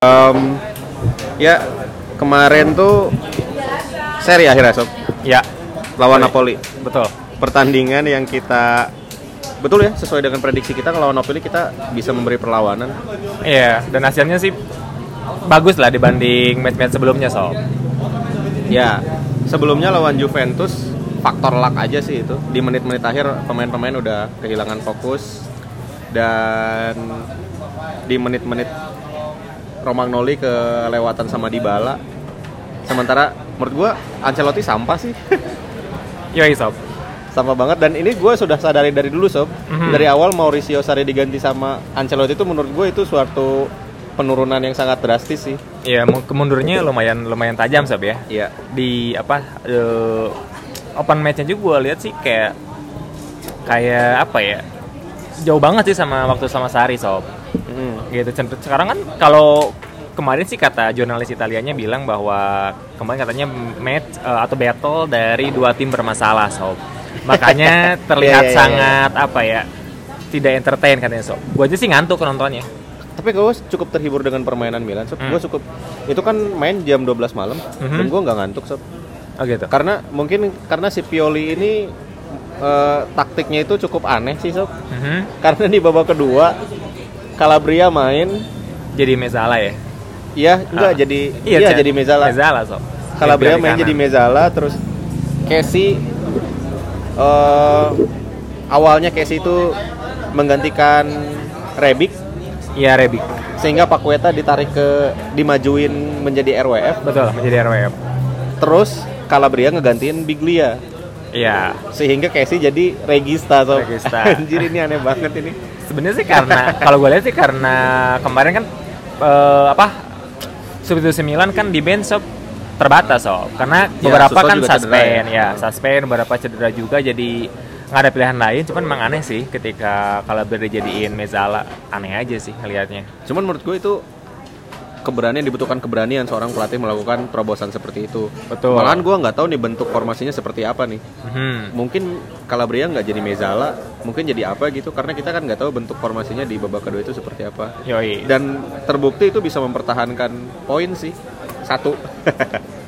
Em, ya kemarin tuh seri akhirnya sob Ya, lawan Napoli betul. pertandingan yang kita betul ya sesuai dengan prediksi kita kalau lawan Napoli kita bisa memberi perlawanan Iya, dan hasilnya sih bagus lah dibanding match-match sebelumnya sob. ya sebelumnya lawan Juventus faktor luck aja sih itu di menit-menit akhir pemain-pemain udah kehilangan fokus dan di menit-menit Romagnoli kelewatan sama Dybala sementara menurut gua Ancelotti sampah sih Yoi Iya, sob. sama banget dan ini gue sudah sadari dari dulu sob Mhm. dari awal Mauricio Sarri diganti sama Ancelotti itu menurut gue itu suatu penurunan yang sangat drastis sih Iya, mu- kemundurnya lumayan lumayan tajam sob ya. iya Di apa eh, open match-nya juga gue lihat sih kayak kayak apa ya? Jauh banget sih sama waktu sama Sari sob. Mhm. Gitu. Cent- Sekarang kan kalau kemarin sih kata jurnalis Italianya bilang bahwa kemarin katanya match eh, atau battle dari dua tim bermasalah sob. Makanya terlihat Iya, iya, iya. sangat apa ya? Tidak entertain katanya sob. Gue aja sih ngantuk nontonnya. tapi gue cukup terhibur dengan permainan Milan sob Hmm. gue cukup itu kan main jam 12 malam Mhm. dan gue nggak ngantuk sob Oh gitu. karena mungkin karena si Pioli ini eh, taktiknya itu cukup aneh sih sob Mhm. karena di babak kedua Calabria main Jadi Mezala ya. ya enggak Ah. jadi iya, Chan. jadi Mezala Mezala sob. Calabria Dari main kanan. jadi Mezala terus Casey eh, awalnya Casey itu menggantikan Rebic Iya Rebi. sehingga Pakueta ditarik ke dimajuin menjadi RWF Betul menjadi RWF. terus Calabria ngegantiin Biglia Iya. sehingga Casey jadi Regista so. Regista. anjir ini aneh banget ini Sebenarnya sih karena kalau gue lihat sih karena kemarin kan eh, apa substitusi Milan kan di bench sob terbatas sob karena Ya, beberapa Suso kan juga cedera suspend ya. suspend beberapa cedera juga jadi nggak ada pilihan lain cuman emang aneh sih ketika kalau dijadiin Mezala aneh aja sih ngelihatnya cuman menurut gue itu keberanian dibutuhkan keberanian seorang pelatih melakukan terobosan seperti itu Betul. malahan gue nggak tahu nih bentuk formasinya seperti apa nih Mhm. mungkin Calabria nggak jadi Mezala, mungkin jadi apa gitu karena kita kan nggak tahu bentuk formasinya di babak kedua itu seperti apa. yoi Dan terbukti itu bisa mempertahankan poin sih satu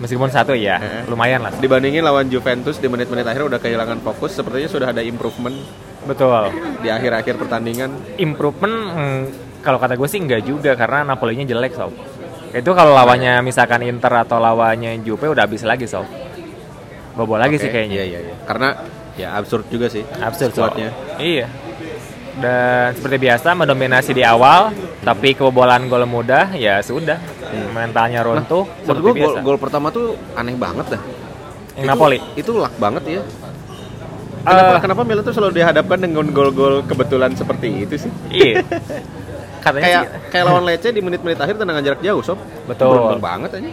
meskipun satu ya Heeh. lumayan lah dibandingin lawan Juventus di menit-menit akhir udah kehilangan fokus sepertinya sudah ada improvement betul di akhir-akhir pertandingan improvement mm, kalau kata gue sih enggak juga karena Napolinya jelek sob itu kalau lawannya misalkan Inter atau lawannya Juve udah habis lagi sob bobo Oke, lagi sih kayaknya iya, iya, iya. karena ya absurd juga sih absurd Sob. squadnya. iya dan seperti biasa mendominasi di awal tapi kebobolan gol mudah ya sudah mentalnya runtuh Iya. Nah, Menurut seperti gue gol, biasa gol pertama tuh aneh banget dah. Yang Napoli Itu luck banget ya. Kenapa, Eh. kenapa Milan tuh selalu dihadapkan dengan gol-gol kebetulan seperti itu sih? iya katanya kayak sih- kayak lawan Lece di menit-menit akhir tendangan jarak jauh sob ya. Betul. beruntung banget aja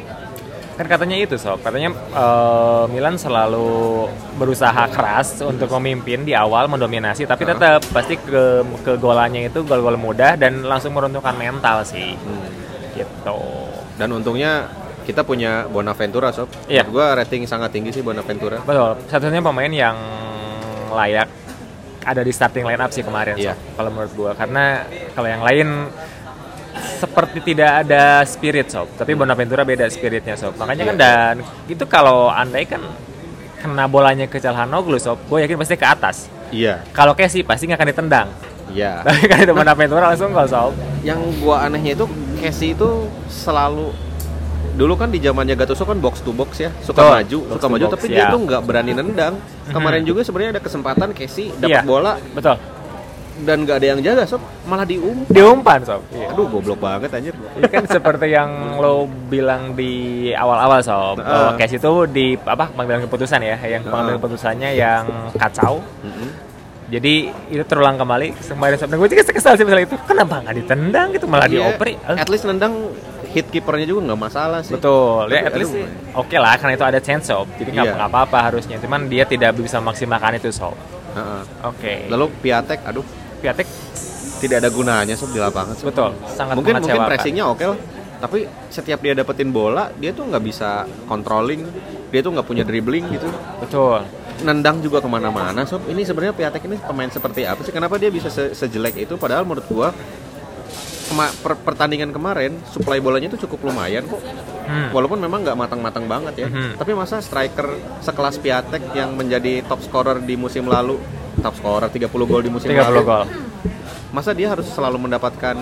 Kan katanya itu sob, katanya eh, Milan selalu berusaha keras untuk memimpin di awal mendominasi, tapi Hah? tetap pasti ke kegolannya itu gol-gol mudah dan langsung meruntuhkan mental sih. Gitu. Hmm. dan untungnya kita punya Bonaventura sob Iya. Menurut gua rating sangat tinggi sih Bonaventura Betul. Satunya pemain yang layak ada di starting line up sih kemarin Iya. sob. Kalau menurut gua karena kalau yang lain seperti tidak ada spirit sob, tapi Bonaventura beda spiritnya sob. Makanya kan Iya. dan itu kalau andai kan kena bolanya ke Calhanoglu sob, gue yakin pasti ke atas. iya Kalau Casey pasti nggak akan ditendang. iya Tapi kan itu Bonaventura langsung gol sob. yang gua anehnya itu Casey itu selalu dulu kan di zamannya Gattuso kan box to box ya suka Betul. maju Box suka to maju box, tapi ya. dia tuh nggak berani nendang kemarin juga sebenarnya ada kesempatan Casey dapat Iya. bola Betul. dan nggak ada yang jaga sob malah dium Diumpan sob. Iya. aduh goblok banget anjir Ini kan seperti yang lo bilang di awal-awal sob, Heeh. bahwa case itu di apa pengambilan keputusan ya, yang Heeh. pengambilan keputusannya yang kacau. Mm-mm. Jadi itu terulang kembali kemarin sob. Dan gue juga kesal sih masalah itu. Kenapa nggak ditendang gitu malah Iya, dioperi? Eh, At least nendang hit keepernya juga nggak masalah sih. Betul, Tapi ya at least aduh, oke lah karena itu ada chance sob. Jadi nggak Iya. nggak apa-apa harusnya. Cuman dia tidak bisa memaksimalkan itu sob. heeh. Oke. Lalu Piatek, aduh, Piatek tidak ada gunanya sob di lapangan. sob. betul, sangat mungkin mungkin mengecewakan. pressingnya oke lah, tapi setiap dia dapetin bola, dia tuh nggak bisa controlling, dia tuh nggak punya dribbling gitu. Betul. Nendang juga kemana-mana sob. Ini sebenarnya Piatek ini pemain seperti apa sih? Kenapa dia bisa se- sejelek itu? Padahal menurut gua kema- per- pertandingan kemarin supply bolanya itu cukup lumayan kok. Hmm. Walaupun memang nggak matang-matang banget ya. Mhm. Tapi masa striker sekelas Piatek yang menjadi top scorer di musim lalu, top scorer 30 gol di musim 30 lalu. gol. Masa dia harus selalu mendapatkan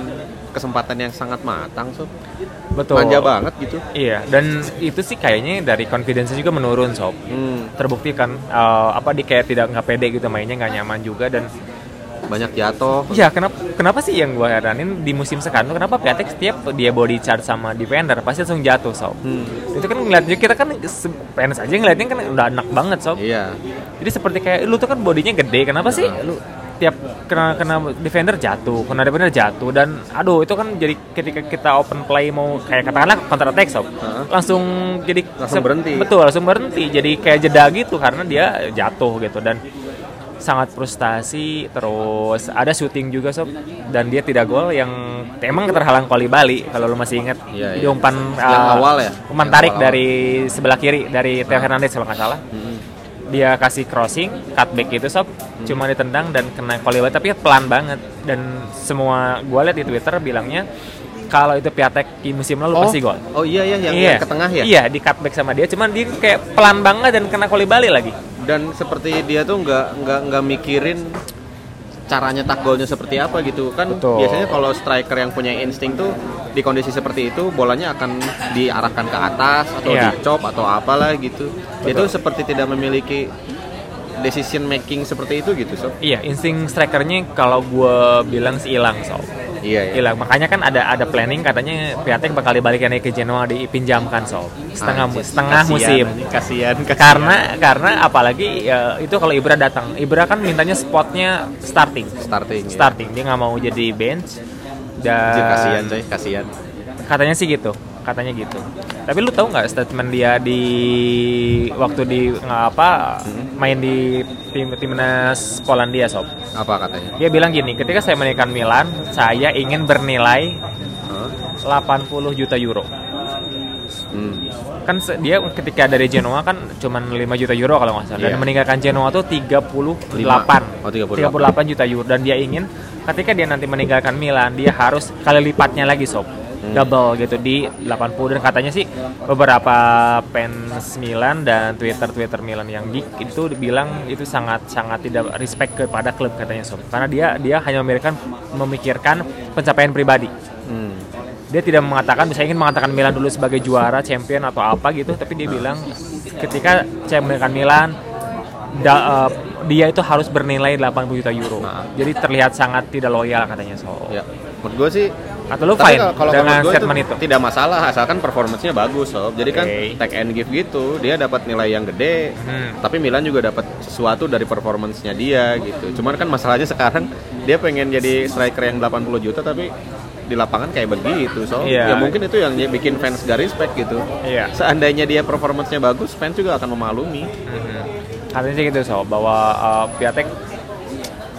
kesempatan yang sangat matang, Sob? Betul. Manja banget gitu. Iya, dan itu sih kayaknya dari confidence juga menurun, sob. Hmm, Terbukti kan eh, apa di kayak tidak nggak pede gitu mainnya nggak nyaman juga dan banyak jatuh. ya kenapa kenapa sih yang gue heranin di musim sekarang tuh kenapa Piatek setiap dia body charge sama defender pasti langsung jatuh, sob. Hmm, Itu kan ngeliatnya kita kan se- PNS aja ngeliatnya kan udah anak banget, sob. iya. Jadi seperti kayak lu tuh kan bodinya gede, kenapa sih lu tiap kena kena defender jatuh, kena defender jatuh dan aduh itu kan jadi ketika kita open play mau kayak katakanlah counter attack sob, Heeh. langsung jadi Langsung berhenti. Betul, langsung berhenti. Jadi kayak jeda gitu karena dia jatuh gitu dan sangat frustasi terus ada shooting juga sob dan dia tidak gol yang emang terhalang voli Bali kalau lu masih ingat Iya, Jadi iya. umpan Yang eh, awal ya? umpan Yang tarik awal-awal. Ah. dari sebelah kiri dari Theo Hernandez kalau nggak salah Hmm. dia kasih crossing, cutback gitu sob, cuma ditendang dan kena volley banget, tapi pelan banget. Dan semua gue lihat di Twitter bilangnya kalau itu Piatek di musim lalu pasti gol. Oh iya ya, yang, yang ke tengah ya. Iya, di cutback sama dia, cuman dia kayak pelan banget dan kena volley balik lagi. Dan seperti dia tuh nggak nggak nggak mikirin cara nyetak golnya seperti apa gitu kan Betul. biasanya kalau striker yang punya insting tuh di kondisi seperti itu bolanya akan diarahkan ke atas atau Iya. dicop atau apalah gitu dia tuh seperti tidak memiliki decision making seperti itu gitu sob Iya, insting strikernya kalau gue bilang sih hilang sob. iya ya. Hilang. Makanya kan ada ada planning katanya Piatek bakal dibalikin lagi ke Genoa dipinjamkan sob. Setengah mu- Anjir, setengah kasihan, musim. anjing, kasihan, kasihan. karena karena apalagi ya, itu kalau Ibra datang Ibra kan mintanya spotnya starting starting ya. starting dia nggak mau jadi bench Anjir, kasihan dan coy kasihan katanya sih gitu katanya gitu tapi lu tahu nggak statement dia di waktu di nggak apa Hmm. main di tim timnas Polandia sob apa katanya dia bilang gini ketika saya menaikkan Milan saya ingin bernilai Hah? 80 juta euro Hmm. kan se- dia ketika dari Genoa kan cuman 5 juta euro kalau nggak salah dan Iya. meninggalkan Genoa tuh 38 Oh, 38. 38 juta euro dan dia ingin ketika dia nanti meninggalkan Milan dia harus kali lipatnya lagi sob Hmm. double gitu di 80 dan katanya sih beberapa fans Milan dan Twitter Twitter Milan yang geek itu bilang itu sangat sangat tidak respect kepada klub katanya sob karena dia dia hanya memikirkan memikirkan pencapaian pribadi Hmm. dia tidak mengatakan misalnya ingin mengatakan Milan dulu sebagai juara champion atau apa gitu tapi dia bilang ketika saya mengatakan Milan da- eh, dia itu harus bernilai 80 juta euro Nah. jadi terlihat sangat tidak loyal katanya so ya menurut gue sih atau lu Tapi fine kalau- kalau dengan menurut gua statement itu, tidak masalah asalkan performance-nya bagus sob jadi kan Oke. take and give gitu dia dapat nilai yang gede Hmm. tapi Milan juga dapat sesuatu dari performance-nya dia gitu cuman kan masalahnya sekarang dia pengen jadi striker yang 80 juta tapi di lapangan kayak begitu so ya Iya. mungkin itu yang bikin fans gak respect gitu Iya. seandainya dia performance-nya bagus fans juga akan memalumi Mhm. katanya sih gitu so bahwa eh, Piatek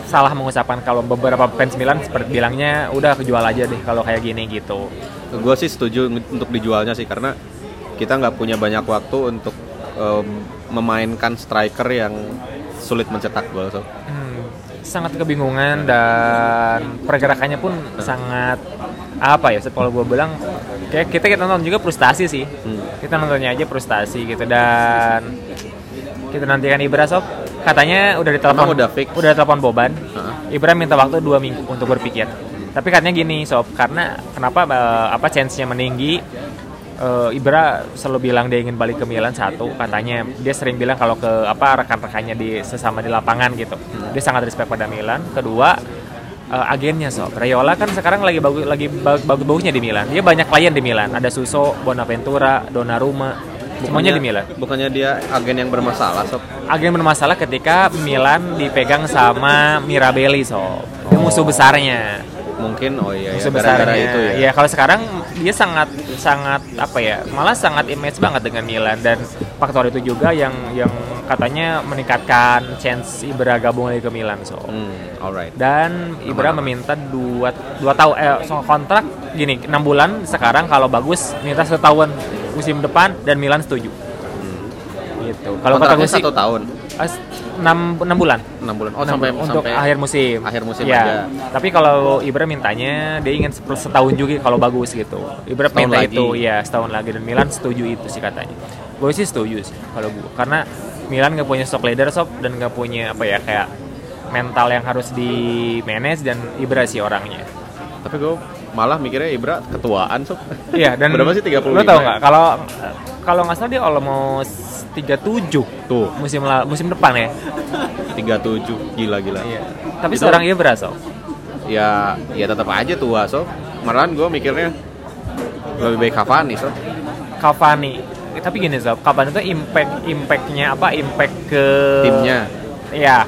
salah mengucapkan kalau beberapa fans Milan seperti bilangnya udah kejual aja deh kalau kayak gini gitu gue sih setuju untuk dijualnya sih karena kita nggak punya banyak waktu untuk em, memainkan striker yang sulit mencetak gol so. Hmm, sangat kebingungan dan pergerakannya pun sangat apa ya kalau gue bilang kayak kita kita nonton juga frustasi sih Hmm. kita nontonnya aja frustasi gitu dan kita nantikan Ibra sob katanya udah ditelepon Emang udah fix? udah telepon Boban Heeh. Ibra minta waktu dua minggu untuk berpikir tapi katanya gini sob karena kenapa eh, apa chance-nya meninggi eh, Ibra selalu bilang dia ingin balik ke Milan satu katanya dia sering bilang kalau ke apa rekan-rekannya di sesama di lapangan gitu dia sangat respect pada Milan kedua eh, agennya sob Rayola kan sekarang lagi bagus lagi bagus bagusnya di Milan dia banyak klien di Milan ada Suso Bonaventura Donnarumma semuanya di Milan Bukannya dia agen yang bermasalah sob. agen bermasalah ketika Milan dipegang sama Mirabelli sob itu musuh besarnya Mungkin oh iya ya musuh besarnya gara-gara itu ya. kalau sekarang dia sangat sangat apa ya malah sangat image banget dengan Milan dan faktor itu juga yang yang katanya meningkatkan chance Ibra gabung lagi ke Milan sob Hmm, alright. dan Ibra meminta dua dua tahun eh, so- kontrak gini enam bulan sekarang kalau bagus minta setahun musim depan dan Milan setuju gitu. Kalau Hmm. kata Kontraknya gue sih satu tahun, 6 6 bulan. enam bulan. Oh Enam sampai bulan Nah, untuk sampai akhir musim. akhir musim ya. aja. Tapi kalau Ibra mintanya dia ingin seper- setahun juga kalau bagus gitu. Ibra Setahun minta lagi. itu ya setahun lagi dan Milan setuju itu sih katanya. Gue sih setuju sih kalau gue karena Milan nggak punya stock leader sob dan nggak punya apa ya kayak mental yang harus di manage dan Ibra sih orangnya. Tapi gue malah mikirnya Ibra ketuaan sob. Iya dan berapa sih 35? Lo tau nggak kalau kalau nggak salah dia almost 37 Tuh, musim la- musim depan ya. 37 gila gila. Iya. Tapi Itu- seorang Ibra sob. Ya ya tetap aja tua sob. Malahan gue mikirnya lebih baik Cavani sob. Cavani. Eh, Tapi gini Sob, Cavani itu impact impactnya apa? Impact ke Timnya. Iya.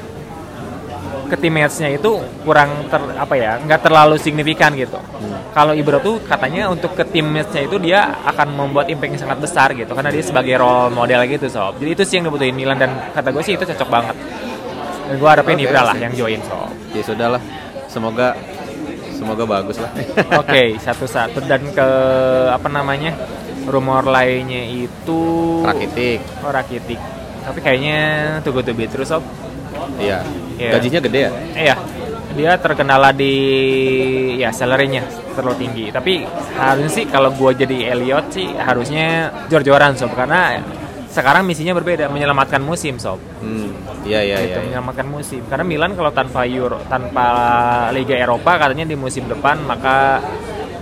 Ke teammates-nya itu kurang ter apa ya? nggak terlalu signifikan gitu. Hmm. Kalau Ibra tuh katanya untuk ke teammates-nya itu dia akan membuat impact yang sangat besar gitu karena dia sebagai role model gitu Sob. Jadi itu sih yang dibutuhin Milan dan kata gue sih itu cocok banget. Dan gue harapin Oke, Ibra lah sih. yang join Sob. Ya sudahlah. Semoga semoga bagus lah. Oke, satu-satu dan ke apa namanya? Rumor lainnya itu Rakitic. Oh Rakitic. Tapi kayaknya tuh gue terus sob. Iya. Iya. Gajinya gede ya? Iya. Dia terkendala di ya salary-nya terlalu tinggi. Tapi harusnya sih kalau gue jadi Elliot sih harusnya jor-joran sob karena sekarang misinya berbeda menyelamatkan musim sob. Hmm. Iya iya iya. Gitu, iya. menyelamatkan musim. Karena Milan kalau tanpa Euro, tanpa Liga Eropa katanya di musim depan maka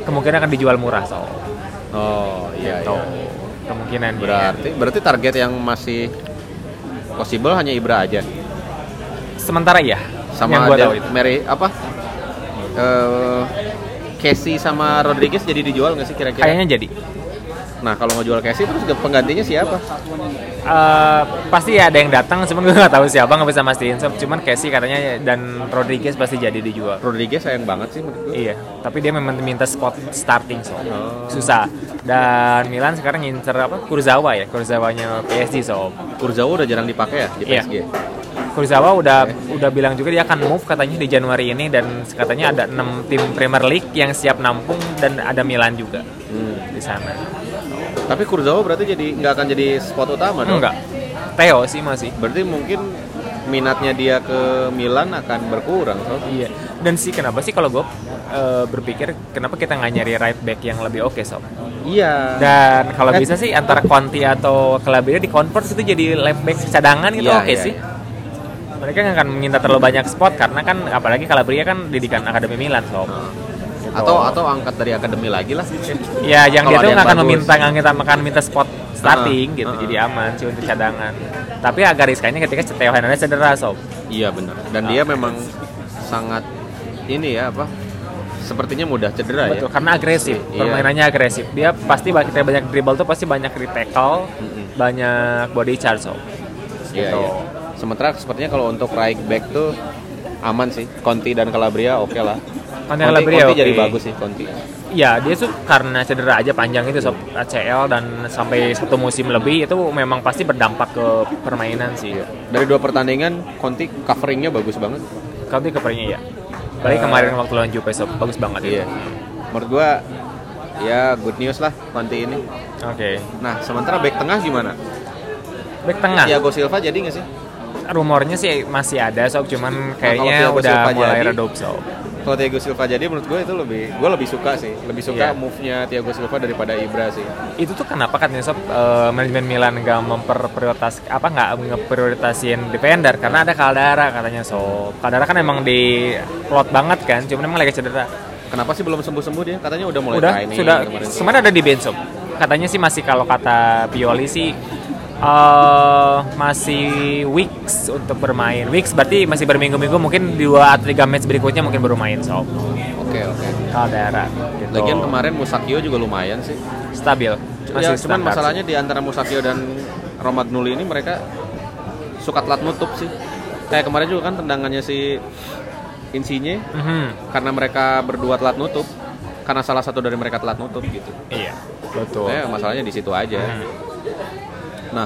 kemungkinan akan dijual murah sob. Oh iya Tuh, iya. kemungkinan Berarti berarti target yang masih possible hanya Ibra aja. sementara ya yang Sama gue Del- tahu itu. Mary apa? Eh Casey sama Rodriguez jadi dijual nggak sih kira-kira? Kayaknya jadi. Nah kalau mau jual Casey terus penggantinya siapa? Eh, pasti ada yang datang, cuman gue nggak tahu siapa nggak bisa mastiin. Sob. Cuman Casey katanya dan Rodriguez pasti jadi dijual. Rodriguez sayang banget sih menurut gue. Iya, tapi dia memang minta spot starting so Oh. susah. Dan Milan sekarang ngincer apa? Kurzawa ya, Kurzawanya PSG so. Kurzawa udah jarang dipakai ya di Iya. PSG. Kurzawa udah udah bilang juga dia akan move katanya di Januari ini dan katanya ada 6 tim Premier League yang siap nampung dan ada Milan juga Hmm. di sana. Tapi Kurzawa berarti jadi nggak akan jadi spot utama dong. Enggak. Theo sih masih. Berarti mungkin minatnya dia ke Milan akan berkurang. Sob. Iya. Dan sih kenapa sih kalau gue berpikir kenapa kita nggak nyari right back yang lebih oke sob? Iya. Dan kalau Kan- bisa sih antara Conti atau Calabria di convert itu jadi left back cadangan gitu Iya, oke iya, sih. iya. Mereka nggak akan minta terlalu banyak spot karena kan apalagi Calabria kan didikan akademi Milan sob. Nah. Gitu. Atau atau angkat dari akademi lagi lah. ya kalau ada yang yang dia tuh nggak akan bagus. Ah, meminta nggak kita akan minta spot starting Heeh, gitu heeh. jadi aman sih untuk cadangan. Tapi agak riskannya ketika Theo Hernandez cedera sob. Iya benar. Dan Nah. dia memang sangat ini ya apa? Sepertinya mudah cedera ya. Betul, karena agresif. Iya. Permainannya agresif. Dia pasti bak- kita banyak dribble tuh pasti banyak di tackle, Mm-mm. banyak body charge. Gitu. So. ya. Iya, iya. Sementara sepertinya kalau untuk right back tuh aman sih. Conti dan Calabria oke lah. Conte Conti Calabria ya, oke. jadi bagus sih Conti. Ya, dia tuh karena cedera aja panjang gitu, itu sob ACL dan sampai satu musim lebih itu memang pasti berdampak ke permainan sih. Iya. Dari dua pertandingan Conti coveringnya bagus banget. Kalau dia kepernya ya. Balik Eh. kemarin waktu lawan Juve sob bagus banget itu. Iya. Menurut gua ya good news lah Conti ini. Oke. Nah, sementara back tengah gimana? Back tengah. Thiago Silva jadi nggak sih? Rumornya sih masih ada sob, Thiago cuman kayaknya udah Silva mulai jadi, redup sob. Kalau Thiago Silva jadi menurut gue itu lebih gue lebih suka sih, lebih suka Iya. move-nya Thiago Silva daripada Ibra sih. itu tuh kenapa katanya sob eh, manajemen Milan nggak memperprioritas apa nggak ngeprioritasin defender karena ada Caldara katanya sob Caldara kan emang di plot banget kan cuman emang lagi cedera Kenapa sih belum sembuh-sembuh dia? Katanya udah mulai udah training sudah kemarin. sebenarnya ada di bench sob katanya sih masih kalau kata Pioli sih eh masih weeks untuk bermain weeks berarti masih berminggu-minggu mungkin dua atau tiga match berikutnya mungkin baru main sob Oke, oke. Caldara gitu. Lagian kemarin Musakio juga lumayan sih. stabil Ya, cuman standar sih. masalahnya di antara Musakio dan Romagnoli ini mereka suka telat nutup sih. Kayak kemarin juga kan tendangannya si Insigne Mhm. karena mereka berdua telat nutup karena salah satu dari mereka telat nutup gitu. iya betul Ya, masalahnya di situ aja. Mhm. Nah,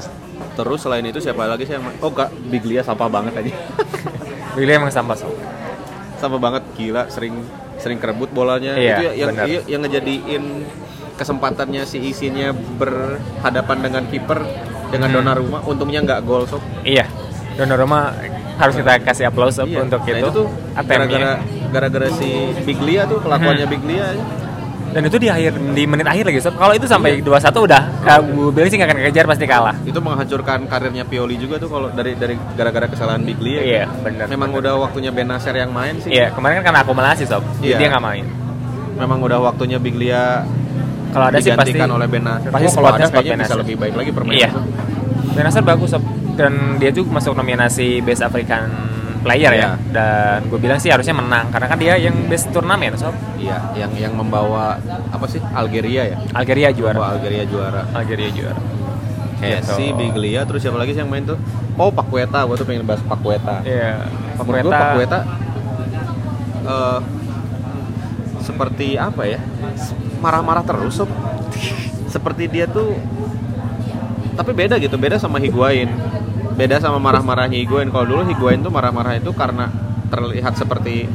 terus selain itu siapa lagi sih yang Oh, enggak, Biglia sampah banget aja. William emang sampah sob sampah banget gila, sering sering kerebut bolanya. Iya, itu ya- yang benar. yang ngejadiin kesempatannya si isinya berhadapan dengan kiper dengan Hmm. Donnarumma untungnya nggak gol sob Iya. Donnarumma harus kita kasih aplaus Sob, Iya. untuk Nah, itu. tuh ATM-nya. gara-gara gara-gara si Biglia tuh kelakuannya Hmm. Biglia Dan itu di akhir di menit akhir lagi Sob. Kalau itu sampai Iya. 2-1 udah Kak, gue bilang sih nggak akan kejar pasti kalah. itu menghancurkan karirnya Pioli juga tuh kalau dari dari gara-gara kesalahan Biglia Iya, benar. memang udah waktunya Benacer yang main sih Iya, kemarin kan karena akumulasi Sob. Jadi Iya. dia nggak main. memang udah waktunya Biglia Kalau ada sih pasti digantikan oleh Benacer pasti kalau slotnya ada slot kayaknya bisa Benacer. lebih baik lagi permainan Iya. tuh. Benasar bagus Sob. dan dia juga masuk nominasi Best African Player Iya. ya. Dan gue bilang sih harusnya menang karena kan dia yang best turnamen Sob. iya yang yang membawa apa sih Algeria ya Algeria Membawa juara. Algeria juara Algeria juara. Gitu. Messi, Biglia, terus siapa lagi sih yang main tuh? Oh, Pakueta, gua tuh pengen bahas Pakueta. Iya. Menurut gua Pakueta eh, seperti apa ya? Marah-marah terus, Sob. Seperti dia tuh tapi beda gitu, beda sama Higuain. Beda sama marah-marahnya Higuain. Kalau dulu Higuain tuh marah-marah itu karena terlihat seperti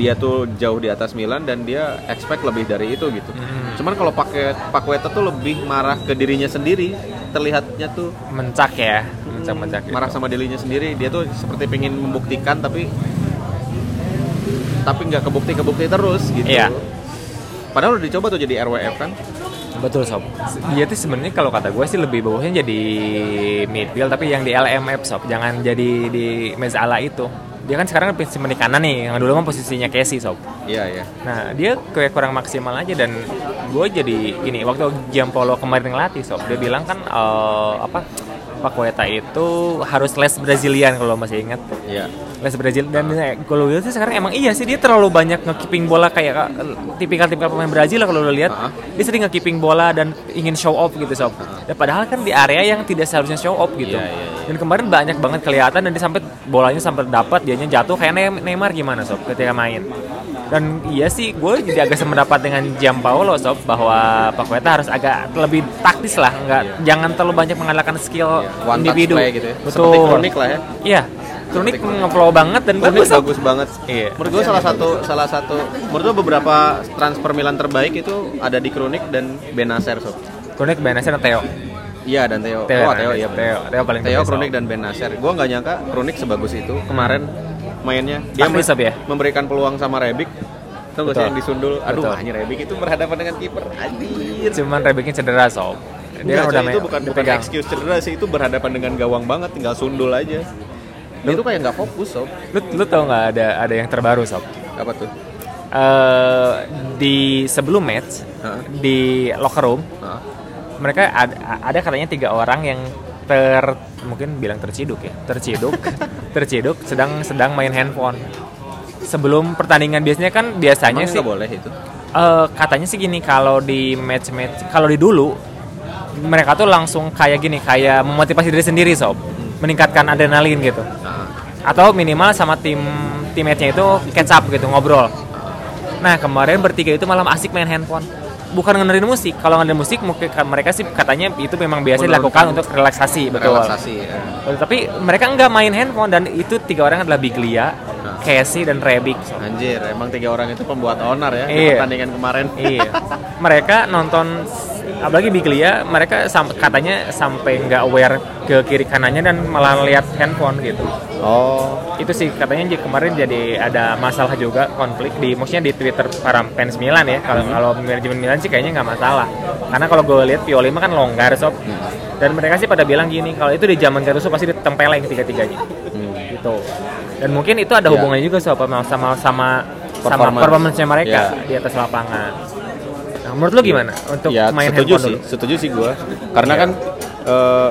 dia tuh jauh di atas Milan dan dia expect lebih dari itu gitu. Hmm. Cuman kalau pakai Pakueta tuh lebih marah ke dirinya sendiri, terlihatnya tuh mencak ya, mencak-mencak. gitu. marah sama dirinya sendiri dia tuh seperti pengen membuktikan tapi tapi nggak kebukti kebukti terus gitu Iya. padahal udah dicoba tuh jadi RWF kan Betul sob. Dia Iya tuh sebenarnya kalau kata gue sih lebih bagusnya jadi midfield tapi yang di LMF sob, jangan jadi di Mezala itu. Dia kan sekarang posisi di kanan nih, yang dulu kan posisinya Casey sob. iya iya Nah dia kayak kurang maksimal aja dan gue jadi ini waktu Giampolo kemarin ngelatih sob, dia bilang kan eh, apa Pakueta itu harus les Brazilian kalau masih ingat. iya Les Brazil dan eh, kalau gue sih sekarang emang iya sih dia terlalu banyak ngekeeping bola kayak eh, tipikal-tipikal pemain Brazil lah kalau lo lihat. Ah. Dia sering ngekeeping bola dan ingin show off gitu sob. Dan padahal kan di area yang tidak seharusnya show off gitu. Iya, iya, iya. Dan kemarin banyak banget kelihatan dan dia sampai bolanya sampai dapat dianya jatuh kayak Ne- Neymar gimana sob ketika main. Dan iya sih gue jadi agak semendapat dengan Gianpaolo sob bahwa Paqueta harus agak lebih taktis lah, nggak jangan terlalu banyak mengandalkan skill Iya. One touch individu. play gitu ya. Betul. Seperti Kronik lah ya. Iya. Kronik ngeflow banget dan Kronik bagus. Sob. bagus banget Iya. menurut gue salah satu salah satu menurut gue beberapa transfer Milan terbaik itu ada di Kronik dan Benacer sob Kronik Benasir dan Theo. iya dan Theo Theo oh Theo iya benar. Theo, Theo paling Theo the best, Kronik Sob. dan Benacer gue nggak nyangka Kronik sebagus itu kemarin mainnya dia Taktis, Sob, ya? memberikan peluang sama Rebic Tau gak sih Betul. yang disundul Aduh Betul. anjir Rebic itu berhadapan dengan kiper Anjir Cuman Rebeknya cedera sob. Dia kan udah itu main- bukan bukan dipegang. excuse cedera sih Itu berhadapan dengan gawang banget Tinggal sundul aja Dia tuh kayak nggak fokus sob Lu, lu tau nggak ada ada yang terbaru sob? Apa tuh? Eh, di sebelum match Hah? di locker room Hah? mereka ada, ada katanya tiga orang yang ter mungkin bilang terciduk ya terciduk terciduk sedang sedang main handphone sebelum pertandingan biasanya kan biasanya Emang sih nggak boleh itu Eh, katanya sih gini kalau di match match kalau di dulu mereka tuh langsung kayak gini kayak memotivasi diri sendiri sob meningkatkan adrenalin gitu Nah, atau minimal sama tim teammate-nya itu catch up gitu ngobrol nah kemarin bertiga itu malam asik main handphone bukan ngenerin musik kalau ngenerin musik mungkin mereka sih katanya itu memang biasa dilakukan untuk relaksasi betul relaksasi ya. tapi mereka nggak main handphone dan itu tiga orang adalah Biglia, Nah. Casey dan Rebic Anjir, emang tiga orang itu pembuat onar ya Di Iya. pertandingan kemarin iya mereka nonton apalagi Biglia mereka sam- katanya sampai nggak aware ke kiri kanannya dan malah lihat handphone gitu Oh itu sih katanya j- kemarin jadi ada masalah juga konflik di maksudnya di Twitter para fans Milan ya kalau kalau manajemen Milan sih kayaknya nggak masalah karena kalau gue lihat Pioli mah kan longgar sob dan mereka sih pada bilang gini kalau itu di zaman Gattuso pasti ditempeleng tiga-tiganya Hmm. gitu dan mungkin itu ada Ya. hubungannya juga sob, sama sama sama sama Performance. performance-nya mereka Ya. di atas lapangan nah, menurut lu gimana untuk ya, main setuju handphone sih, dulu setuju sih gue. Karena Iya. kan eh,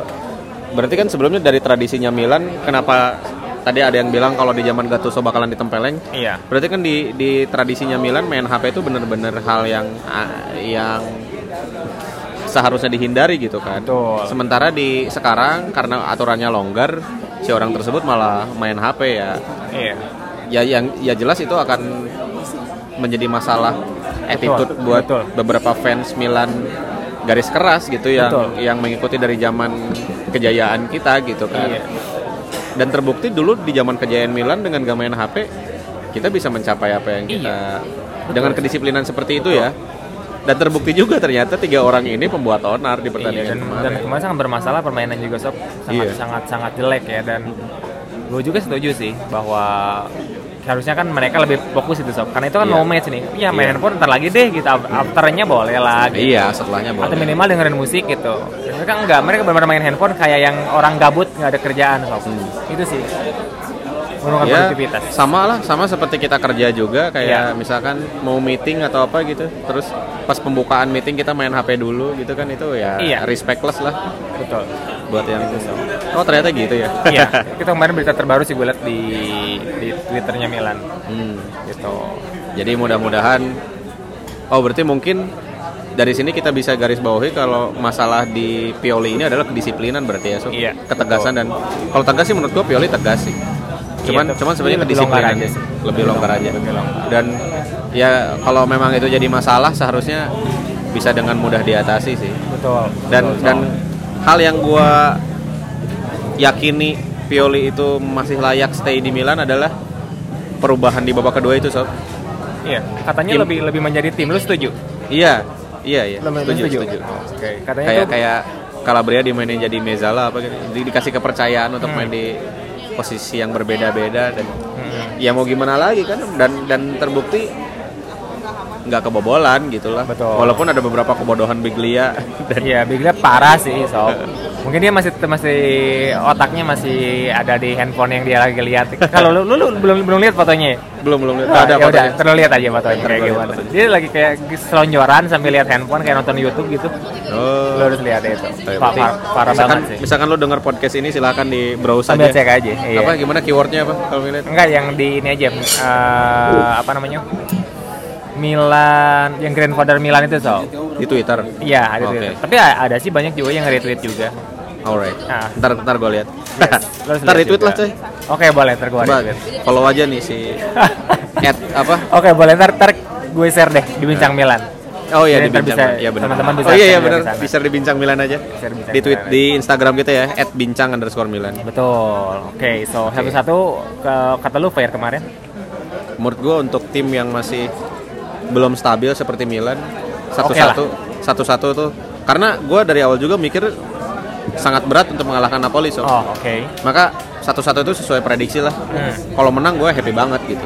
berarti kan sebelumnya dari tradisinya Milan, kenapa tadi ada yang bilang kalau di zaman Gattuso bakalan ditempeleng? iya Berarti kan di di tradisinya Milan main HP itu bener-bener hal yang ah, yang seharusnya dihindari gitu kan. Betul. Sementara di sekarang karena aturannya longgar, si orang tersebut malah main HP ya. iya Ya yang ya jelas itu akan menjadi masalah attitude buat betul. beberapa fans Milan garis keras gitu yang Betul. yang mengikuti dari zaman kejayaan kita gitu kan. Iya. Dan terbukti dulu di zaman kejayaan Milan dengan gak main Iya. HP kita bisa mencapai apa yang kita dengan kedisiplinan seperti itu ya. Dan terbukti juga ternyata tiga orang ini pembuat onar di Iya, pertandingan dan, kemarin. dan kemarin sangat bermasalah permainan juga sob sangat Iya. sangat sangat jelek ya dan gue juga setuju sih bahwa harusnya kan mereka lebih fokus itu sob karena itu kan Iya. no match nih ya main Iya. handphone ntar lagi deh gitu afternya boleh lah gitu. Iya, setelahnya boleh. atau minimal dengerin musik gitu mereka enggak mereka benar-benar main handphone kayak yang orang gabut nggak ada kerjaan sob Hmm. itu sih menurunkan ya, produktivitas sama lah, sama seperti kita kerja juga kayak Iya. misalkan mau meeting atau apa gitu, terus pas pembukaan meeting kita main HP dulu gitu kan itu ya Iya. respectless lah betul buat yang Oh, ternyata gitu ya. iya kita kemarin berita terbaru sih gue liat di di twitternya Milan Hmm. gitu Jadi mudah-mudahan Oh, berarti mungkin dari sini kita bisa garis bawahi kalau masalah di Pioli ini adalah kedisiplinan berarti ya, Sob? Iya. ketegasan dan kalau tegas sih menurut gua Pioli tegas sih. Cuman Iya, cuman sebenarnya lebih longgar kedisiplinan aja lebih, sih. lebih longgar aja. Lebih longgar. Dan ya kalau memang itu jadi masalah seharusnya bisa dengan mudah diatasi sih. betul Dan betul, dan Sob. hal yang gua yakini Pioli itu masih layak stay di Milan adalah perubahan di babak kedua itu, Sob. Iya, katanya Tim- lebih lebih menjadi tim. Lu setuju? Iya, iya, iya. Lu Setuju, setuju? setuju. Oh, Oke, katanya Kayak itu kayak Calabria dimainin jadi Mezala apa gitu. Di- dikasih kepercayaan untuk main di posisi yang berbeda-beda dan Hmm, ya mau gimana lagi kan dan dan terbukti nggak kebobolan gitulah. Betul. Walaupun ada beberapa kebodohan Biglia dan Iya, Biglia parah sih, sob. Mungkin dia masih masih otaknya masih ada di handphone yang dia lagi lihat. Kalau lu, lu, lu belum belum lihat fotonya. ya? belum belum lihat Wah, ada ya udah, fotonya. terus lihat aja fotonya Ntar kayak gua lihat gimana. fotonya. Dia lagi kayak selonjoran sambil lihat handphone kayak nonton YouTube gitu. Oh. Lu harus lihat itu. Tapi Pa- penting. pa- Parah misalkan, banget sih. misalkan lo dengar podcast ini silahkan di browse Sambil aja. cek aja. Iya. Apa gimana keywordnya apa kalau ngeliat? Enggak yang di ini aja eh, apa namanya? Milan yang grandfather Milan itu sob. Di Twitter. Iya, ada Oke. retweet. Tapi a- ada sih banyak juga yang retweet juga. Alright. Ah. Iya. Ntar ntar gue lihat. Lo harus ntar lihat retweet juga. lah coy. Oke, boleh ntar gue Coba follow aja nih si at apa? Oke, boleh ntar, ntar gue share deh di Bincang Milan. Oh iya Jadi di ntar bincang. bisa- Milan. Iya benar. teman-teman bisa oh iya share iya juga benar. di sana. Bisa di bincang Milan aja. Share Bincang Di tweet Milan. iya. di Instagram kita ya @bincang underscore Milan. Betul. Oke, so satu-satu ke kata lu fair kemarin. Menurut gue untuk tim yang masih belum stabil seperti Milan satu Oke lah. satu satu satu tuh karena gue dari awal juga mikir sangat berat untuk mengalahkan Napoli so. Oh, oke. Maka satu-satu itu sesuai prediksi lah. Hmm. Kalau menang gue happy banget gitu.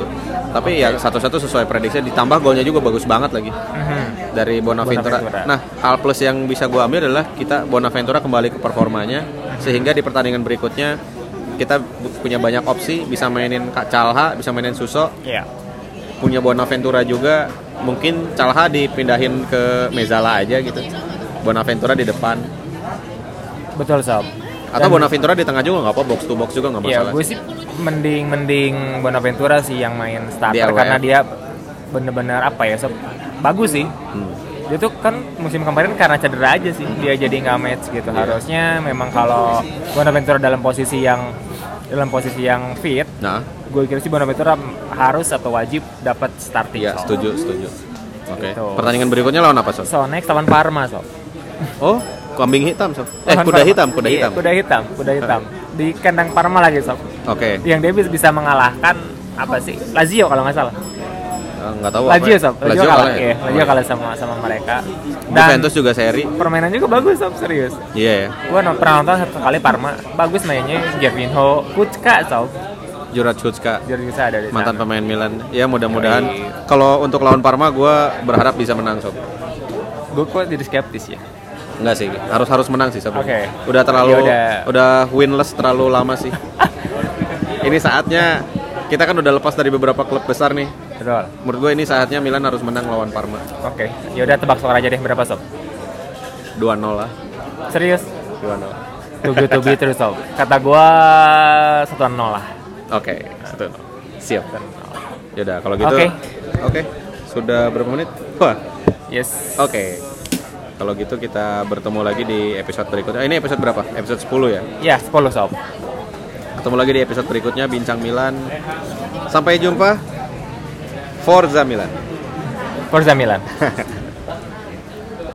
Tapi ya satu-satu sesuai prediksi. Ditambah golnya juga bagus banget lagi. Mhm. dari Bonaventura. Bonaventura. Nah, hal plus yang bisa gua ambil adalah kita Bonaventura kembali ke performanya sehingga di pertandingan berikutnya kita bu- punya banyak opsi, bisa mainin Kak Calha, bisa mainin Suso, Iya. punya Bonaventura juga. Mungkin Calha dipindahin ke Mezala aja gitu. Bonaventura di depan Betul, sob. atau Dan- Bonaventura di tengah juga nggak apa box to box juga nggak Iya, masalah. gue sih mending mending Bonaventura sih yang main starter Di ya. karena LWF. dia bener-bener apa ya, sob? Bagus sih. Hmm. dia tuh kan musim kemarin karena cedera aja sih dia jadi nggak match gitu Iya. harusnya memang kalau Bonaventura dalam posisi yang dalam posisi yang fit Nah, gue kira sih Bonaventura harus atau wajib dapat starting iya Sob. setuju setuju. Oke. Gitu. Pertandingan berikutnya lawan apa sob? so next lawan Parma sob Oh, kambing hitam sob. Eh, Lawan kuda Parma. hitam, kuda Iya, hitam. kuda hitam kuda hitam di kandang Parma lagi sob Oke. yang dia bis- bisa mengalahkan apa sih Lazio kalau nggak salah Eh, Nggak tahu. apa Lazio ya. sob Lazio, Lazio kalah ya? iya, Lazio Oh, kalah sama sama mereka dan Juventus juga seri. permainan juga bagus sob serius Iya ya. Gua no- pernah nonton satu kali Parma, bagus mainnya Javinho, Kutka, sob. Jurat Kutska, Jadi bisa ada di sana. mantan pemain Milan. Ya mudah-mudahan Yoi. kalau untuk lawan Parma gue berharap bisa menang sob. Gue kok jadi skeptis ya. Enggak sih, harus harus menang sih sob. Oke. Udah terlalu Ya udah. udah winless terlalu lama sih. ini saatnya kita kan udah lepas dari beberapa klub besar nih. Betul. Menurut gue ini saatnya Milan harus menang lawan Parma. Oke, yaudah tebak skor aja deh berapa sob. 2-0 lah. Serius? 2-0. Tugu tugu terus sob. Kata gua satu nol lah. Oke, satu. Siap. Yaudah, kalau gitu. Oke. Oke. Sudah berapa menit? Wah, Yes. Oke. Kalau gitu kita bertemu lagi di episode berikutnya. Eh, Ini episode berapa? Episode 10 ya. Ya, 10 sob. Ketemu lagi di episode berikutnya Bincang Milan. Sampai jumpa. Forza Milan. Forza Milan.